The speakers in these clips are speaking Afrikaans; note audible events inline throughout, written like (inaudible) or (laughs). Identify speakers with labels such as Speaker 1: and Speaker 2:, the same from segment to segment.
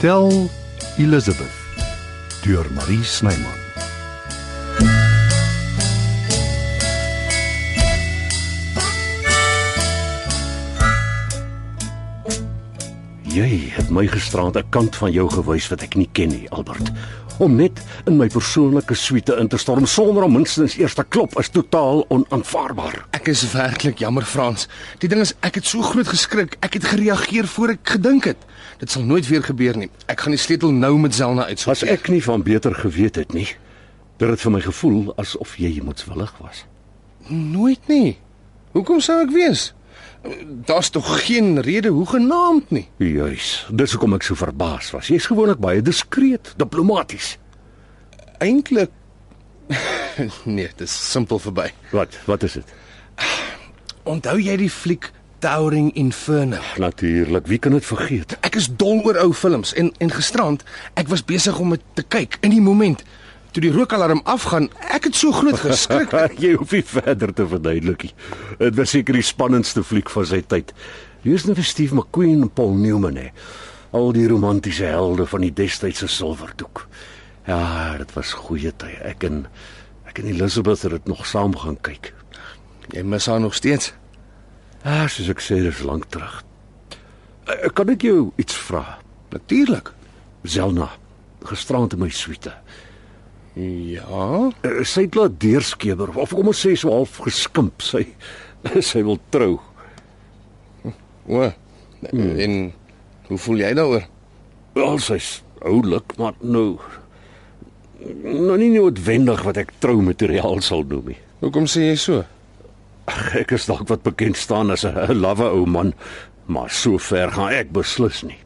Speaker 1: Tel Elizabeth deur Marie Snyman.
Speaker 2: Jy het my gisterand 'n kant van jou gewys wat ek nie ken nie, Albert. Om net in my persoonlike suite in te storm sonder om minstens eers te klop is totaal onaanvaarbaar.
Speaker 3: Ek is werklik jammer Frans. Die ding is ek het so groot geskrik. Ek het gereageer voor ek gedink het. Dit sal nooit weer gebeur nie. Ek gaan die sleutel nou met Zelna
Speaker 2: As
Speaker 3: uitsorteer.
Speaker 2: ek nie van beter geweet het nie, dit het vir my gevoel asof jy moetswillig was.
Speaker 3: nooit nie. Hoekom sou ek wees? Daar's tog geen rede hoegenaamd nie.
Speaker 2: Juis, dis hoekom ek so verbaas was. Jy's gewoonlik baie diskreet, diplomaties.
Speaker 3: Eintlik (laughs) nee, dit is simpel verby.
Speaker 2: Wat, wat is dit?
Speaker 3: Onthou jy die fliek Towering Inferno?
Speaker 2: Natuurlik, wie kan dit vergeet?
Speaker 3: Ek is dol oor ou films en en gisterand ek was besig om dit te kyk in die moment toe die rookalarm afgaan. Ek het so groot geskrik.
Speaker 2: (laughs) jy hoef nie verder te verduidelik nie. Dit was seker die spannendste fliek van sy tyd. Lees net vir Steve McQueen en Paul Newman hè. Al die romantiese helde van die destydse silwerdoek. Ja, dit was goeie tye. Ek en ek en Elizabeth het dit nog saam gaan kyk.
Speaker 3: Jy mis haar nog steeds.
Speaker 2: Ah, soos ek sê, dis lank terug. Ek kan ek jou iets vra?
Speaker 3: Natuurlik.
Speaker 2: Zelna, gisterand in my suite.
Speaker 3: Ja,
Speaker 2: Eh, Sy het laat deurskeber of kom ons sê so half geskimp. Sy (laughs) sy wil trou.
Speaker 3: o. Hmm. En hoe voel jy daaroor?
Speaker 2: Wel, sy's oulik, maar nou nou nie noodwendig wat ek troumateriaal sal noem nie.
Speaker 3: Hoekom sê jy so?
Speaker 2: Ag, Ek is dalk wat bekend staan as 'n lawwe ou man, maar so ver gaan ek beslis nie.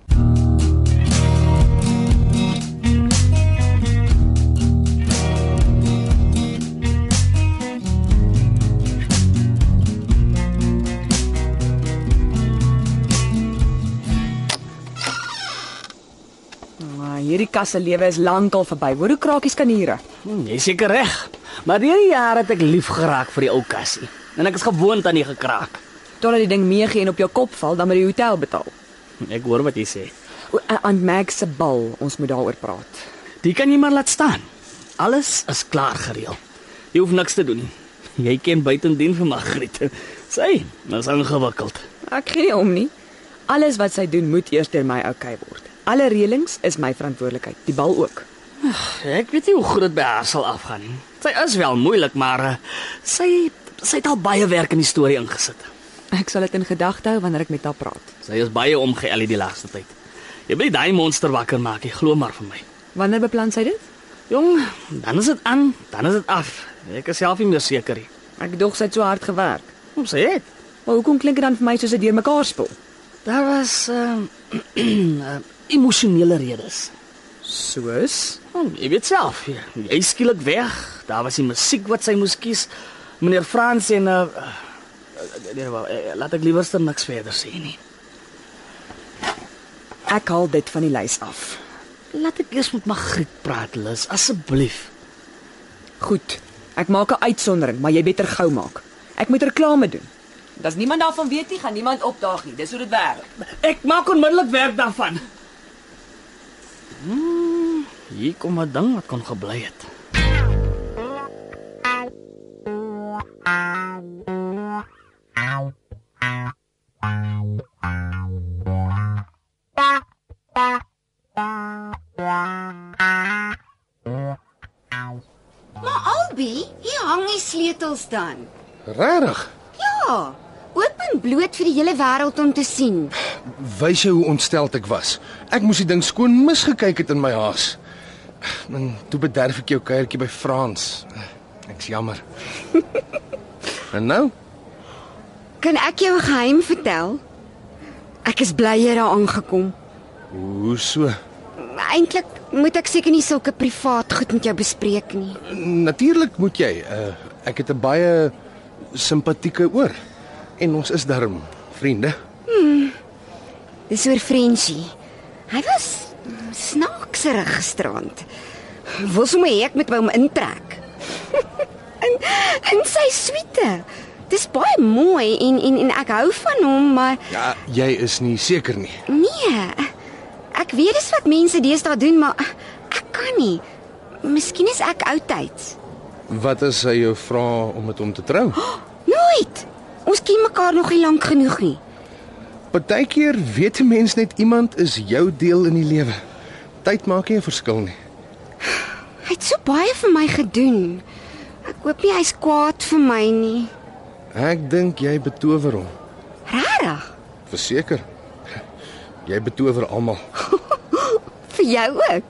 Speaker 4: Maar hierdie kasse lewe is lankal verby. Hoor hoe krakies kan hier.
Speaker 5: Hmm, jy is seker reg. Maar deur die jare het ek lief geraak vir die ou kassie en ek is gewoond aan die gekraak.
Speaker 4: Totdat die ding meegee en op jou kop val, dan moet jy die hotel betaal.
Speaker 5: Ek hoor wat jy sê.
Speaker 4: O, a- Aan Max se bal, ons moet daaroor praat.
Speaker 5: Dit kan jy maar laat staan. Alles is klaar gereël. Jy hoef niks te doen nie. Jy ken buitendien vir Magriet. Sy is ingewikkeld.
Speaker 4: Ek gee nie om nie. Alles wat sy doen moet eers deur my oukei word. Alle reëlings is my verantwoordelikheid, die bal ook.
Speaker 5: Ek weet nie hoe groot by haar sal afgaan nie. Sy is wel moeilik, maar eh, sy sy het al baie werk in die storie ingesit.
Speaker 4: Ek sal dit in gedagte hou wanneer ek met haar praat.
Speaker 5: Sy is baie omgeël die laaste tyd. Jy wil nie daai monster wakker maak nie, glo maar vir my.
Speaker 4: Wanneer beplan sy dit?
Speaker 5: Jong, dan is dit aan, dan is dit af. Ek is self nie meer seker nie.
Speaker 4: Ek dog sy het so hard gewerk.
Speaker 5: Hoe sê dit?
Speaker 4: Maar hoekom klink dit dan vir my soos 'n deurmekaar spel?
Speaker 5: Daar was ehm (clears throat) uh, emosionele redes.
Speaker 4: Soos
Speaker 5: Oh, jy weet self, jy, jy is skielik weg. Daar was die musiek wat sy moes kies. Meneer Frans en uh, uh, nee, wel, eh, laat ek liewerste niks verder sê nie.
Speaker 4: ek haal dit van die lys af.
Speaker 5: Laat ek eers met Magriet praat, Lis, asseblief.
Speaker 4: Goed. Ek maak 'n uitsondering, maar jy beter gou maak. Ek moet reklame doen. Das niemand daarvan weet nie, gaan niemand opdaag nie. Dis hoe dit werk.
Speaker 5: Ek maak onmiddellik werk daarvan. Hmm, hier kom 'n ding wat kon gebly het.
Speaker 6: Maar Albie, hier hang die sleutels dan.
Speaker 3: Regtig?
Speaker 6: Ja, oop en bloot vir die hele wêreld om te sien.
Speaker 3: Wys jy hoe ontsteld ek was. Ek moes die ding skoon misgekyk het in my haas. En toe bederf ek jou kuiertjie by Frans. Ek's (laughs) jammer. en nou?
Speaker 6: Kan ek jou 'n geheim vertel? Ek is bly jy daar aangekom.
Speaker 3: Hoe so?
Speaker 6: Eintlik moet ek seker nie sulke privaat goed met jou bespreek nie.
Speaker 3: Natuurlik moet jy. Uh, ek het 'n baie simpatieke oor. En ons is darm vriende.
Speaker 6: Dis oor Frenchie. Hy was snaakserig gisterand. Wil sommer hê ek moet by hom intrek. (laughs) in in sy suite. Dis baie mooi en en en ek hou van hom, maar
Speaker 3: Ja, jy is nie seker nie.
Speaker 6: Nee. Ek weet dis wat mense deesdae doen, maar ek kan nie. Miskien is ek oudtyds.
Speaker 3: Wat as hy jou vra om met hom te trou?
Speaker 6: Nooit. Ons ken mekaar nog nie lank genoeg nie.
Speaker 3: Partykeer weet 'n mens net iemand is jou deel in die lewe. Tyd maak nie 'n verskil nie.
Speaker 6: Hy het so baie vir my gedoen. Ek hoop nie hy's kwaad vir my nie.
Speaker 3: Ek dink jy betower hom.
Speaker 6: Regtig?
Speaker 3: Verseker. Jy betower almal.
Speaker 6: Vir jou ook.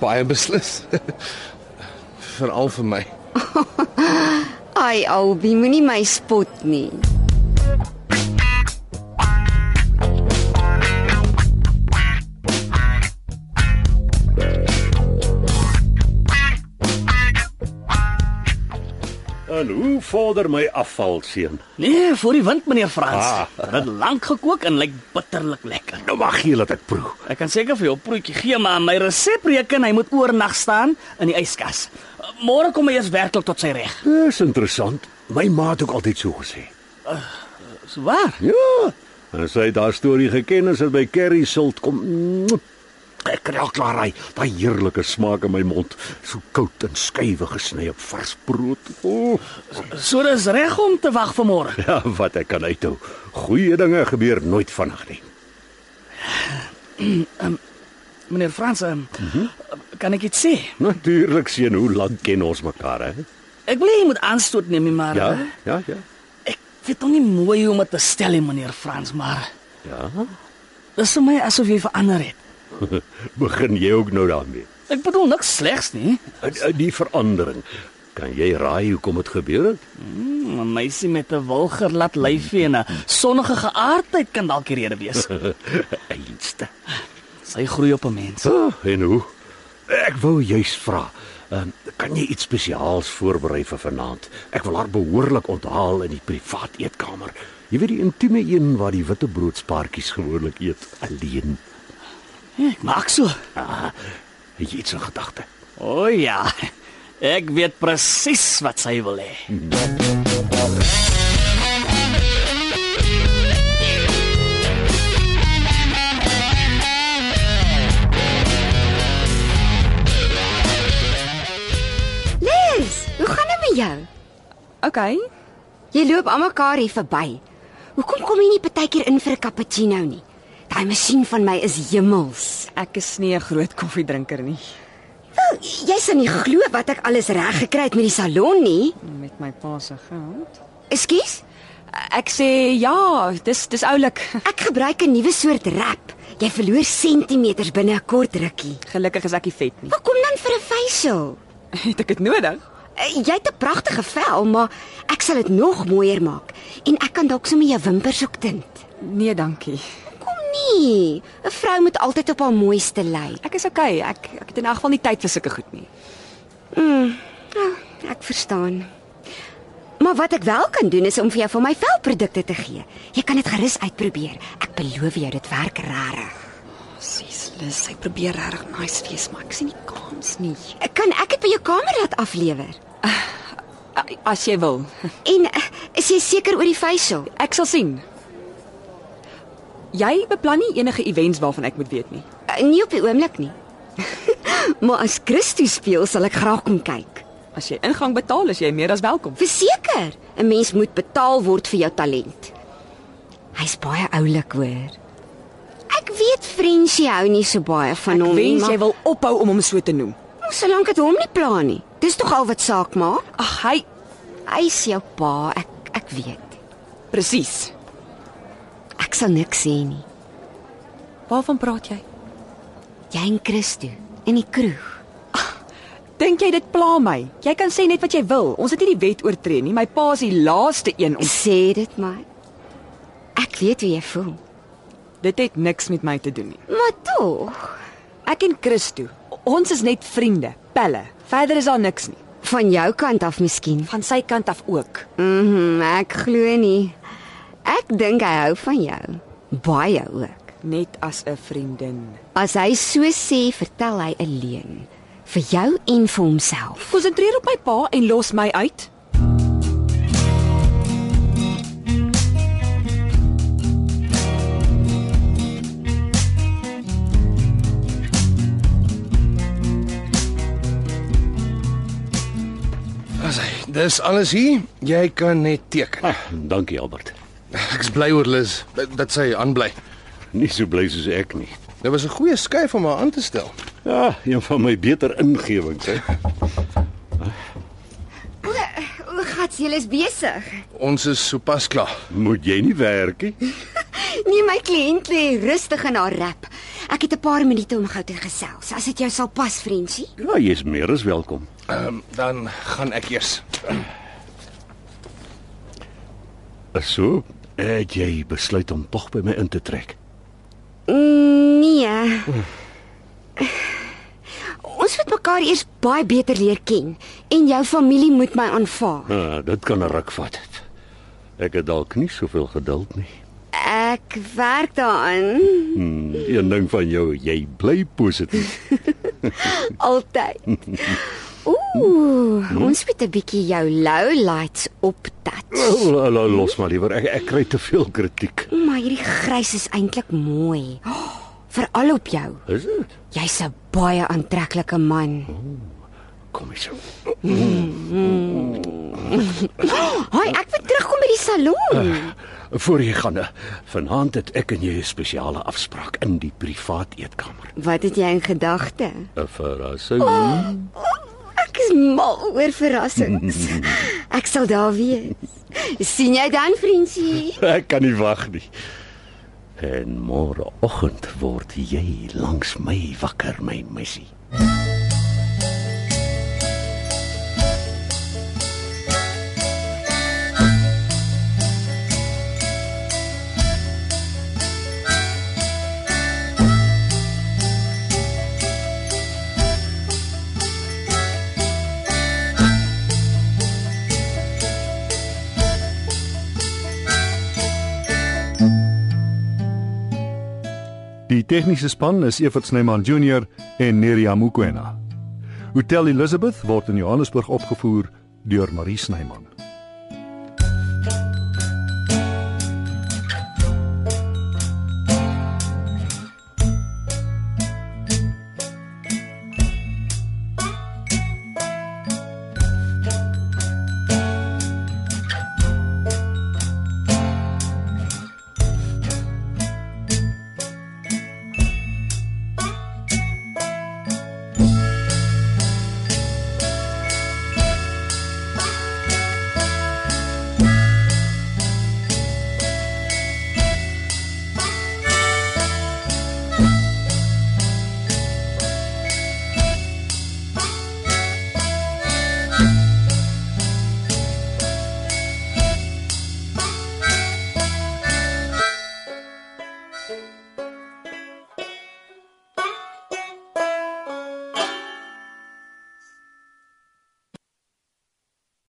Speaker 3: Baie beslis. (laughs) Veral vir my.
Speaker 6: Ai Albie, moenie my spot nie.
Speaker 2: En hoe vorder my afval seun?
Speaker 5: Nee, voor die wind meneer Frans.
Speaker 2: Ah.
Speaker 5: Dit het lank gekook en lyk bitterlik lekker.
Speaker 2: Nou mag jy laat ek proe.
Speaker 5: Ek kan seker vir jou 'n proetjie gee, maar my resep reken hy moet oornag staan in die yskas. Môre kom hy eers werklik tot sy reg.
Speaker 2: Dis interessant. My ma het ook altyd so gesê.
Speaker 5: Dis waar.
Speaker 2: Ja. En sy het haar storie geken as dit by curry silt kom. Mm, Ek kry al klaar hy, daai heerlike smaak in my mond, so koud en skuwe gesny op vars brood. O, oh,
Speaker 5: So dis reg om te wag vir môre.
Speaker 2: (laughs) ja, wat ek kan uithou. Goeie dinge gebeur nooit vinnig nie.
Speaker 5: Meneer Frans, um, mm -hmm. kan ek iets sê?
Speaker 2: Natuurlik seën, hoe lank ken ons mekaar, hè?
Speaker 5: Ek wil nie moet aanstoot neem nie, maar
Speaker 2: Ja,
Speaker 5: eh,
Speaker 2: ja, ja.
Speaker 5: ek weet nog nie mooi hoe om dit te stel nie, meneer Frans, maar
Speaker 2: Ja.
Speaker 5: dis vir my asof jy verander het.
Speaker 2: (laughs) Begin jy ook nou daarmee?
Speaker 5: Ek bedoel niks slegs nie.
Speaker 2: Eh, eh, Die verandering. Kan jy raai hoekom dit gebeur het?
Speaker 5: Mm, 'n Meisie met 'n wilger laat lyfie en 'n sonnige geaardheid kan dalk die rede wees.
Speaker 2: Einste.
Speaker 5: Sy groei op 'n mens.
Speaker 2: Ah, en hoe? Ek wou juis vra, um, kan jy iets spesiaals voorberei vir vanaand? Ek wil haar behoorlik onthaal in die privaat eetkamer. Jy weet die intieme een waar die wittebroodspaartjies gewoonlik eet alleen.
Speaker 5: Ja, Ek maak so.
Speaker 2: Ah, het jy iets in gedagte?
Speaker 5: O oh, ja. Ek weet presies wat sy wil hê.
Speaker 6: Liz, hoe gaan dit met jou?
Speaker 4: Okay.
Speaker 6: Jy loop almekaar hier verby. Hoekom kom jy nie partykeer in vir 'n cappuccino nie? Daai masjien van my is hemels.
Speaker 4: Ek is nie 'n groot koffiedrinker nie
Speaker 6: Wel, jy sal nie glo wat ek alles reg gekry het met die salon nie.
Speaker 4: met my pa se geld.
Speaker 6: Ekskuus,
Speaker 4: Ek sê ja, dis dis oulik. (laughs)
Speaker 6: ek gebruik 'n nuwe soort wrap. Jy verloor sentimeters binne 'n kort rukkie.
Speaker 4: Gelukkig is ek nie vet nie. (laughs)
Speaker 6: Maar kom dan vir 'n facial.
Speaker 4: Het ek dit nodig?
Speaker 6: Eh, Jy het 'n pragtige vel, maar ek sal dit nog mooier maak en ek kan dalk sommer jou wimpers ook tint.
Speaker 4: Nee, dankie.
Speaker 6: Kom nie. 'n Vrou moet altyd op haar mooiste lyk.
Speaker 4: Ek is okay. Ek ek het in elk geval nie tyd vir sulke goed nie.
Speaker 6: Ja, ek verstaan. Maar wat ek wel kan doen is om vir jou van my velprodukte te gee. Jy kan dit gerus uitprobeer. Ek beloof jou dit werk rarig.
Speaker 4: Presies, Lis, sy probeer regtig nice wees, maar ek sien nie kans nie.
Speaker 6: Ek kan ek dit by jou kamer laat aflewer.
Speaker 4: As jy wil.
Speaker 6: En eh, is jy seker oor die facial?
Speaker 4: Ek sal sien. Jy beplan nie enige events waarvan ek moet weet nie.
Speaker 6: Eh, Nie op die oomblik nie. (laughs) maar as Christus speel, sal ek graag kom kyk.
Speaker 4: As jy ingang betaal, is jy meer as welkom.
Speaker 6: Verseker, 'n mens moet betaal word vir jou talent. Hy's baie oulik hoor. Ek weet Frenchie hou nie so baie van
Speaker 4: Ek
Speaker 6: hom nie,
Speaker 4: wens
Speaker 6: maar
Speaker 4: jy wil ophou om hom so te noem.
Speaker 6: solank dit hom nie pla nie. Dis tog al wat saak maak.
Speaker 4: Ag, hy
Speaker 6: Hy's jou pa, ek ek weet.
Speaker 4: presies.
Speaker 6: Ek sal niks sê nie.
Speaker 4: Waarvan praat jy?
Speaker 6: Jy en Christo in die kroeg.
Speaker 4: Dink jy dit pla my? Jy kan sê net wat jy wil. Ons het nie die wet oortree nie. My pa is die laaste een om
Speaker 6: Sê dit maar. Ek weet hoe jy voel.
Speaker 4: dit het niks met my te doen nie.
Speaker 6: Maar tog,
Speaker 4: Ek en Christo, ons is net vriende, pelle. Verder is daar niks nie.
Speaker 6: van jou kant af miskien.
Speaker 4: Van sy kant af ook.
Speaker 6: Mhm, mm ek glo nie. Ek dink hy hou van jou. Baie ook.
Speaker 4: Net as 'n vriendin.
Speaker 6: As hy so sê, vertel hy 'n leuen vir jou en vir homself.
Speaker 4: Konsentreer op my pa en los my uit.
Speaker 3: Dis alles hier. Jy kan net teken.
Speaker 2: Ah, dankie Albert.
Speaker 3: Ek's bly oor Liz dat- dat sy aanbly.
Speaker 2: Nie so bly soos ek nie.
Speaker 3: Dit was 'n goeie skuif om haar aan te stel.
Speaker 2: Ja, een van my beter ingewings, hè.
Speaker 6: O, o gats, jy is besig.
Speaker 3: Ons is sopas klaar.
Speaker 2: Moet jy nie werk nie?
Speaker 6: Nee, my kliënt lê rustig in haar rap. Ek het 'n paar minute om gou te gesels. As dit jou sal pas, vriendjie.
Speaker 2: Ja, jy's meer as welkom.
Speaker 3: Ehm um, dan gaan ek eers.
Speaker 2: So, het jy besluit om tog by my in te trek?
Speaker 6: Nee. (sighs) Ons moet mekaar eers baie beter leer ken en jou familie moet my aanvaar.
Speaker 2: Ah, dit kan 'n ruk vat. Ek het dalk nie soveel geduld nie.
Speaker 6: Ek werk daaraan
Speaker 2: Hmm, een ding van jou, jy bly positief.
Speaker 6: altyd. (laughs) Ooh, ons moet 'n bietjie jou lowlights optat.
Speaker 2: Wel, la- Los maar liewer, ek, ek kry te veel kritiek.
Speaker 6: Maar hierdie grys is eintlik mooi. (gasps) Veral op jou.
Speaker 2: Is dit?
Speaker 6: Jy's 'n baie aantreklike man.
Speaker 2: Kom hier. so.
Speaker 6: Haai, ek wil terugkom by die salon.
Speaker 2: Voor jy gaan, eh, vanaand het ek en jy 'n spesiale afspraak in die privaat eetkamer. Oh,
Speaker 6: Wat het jy in gedagte?
Speaker 2: 'n Verrassing.
Speaker 6: Ek is mal oor verrassings. Ek sal daar wees. sien jy dan, vriendjie?
Speaker 2: Ek kan nie wag nie. En môreoggend word jy langs my wakker, my meisie.
Speaker 7: Die tegniese span is Evert Snyman Junior en Neriya Mukwena. Hotel Elizabeth word in Johannesburg opgevoer deur Marie Snyman.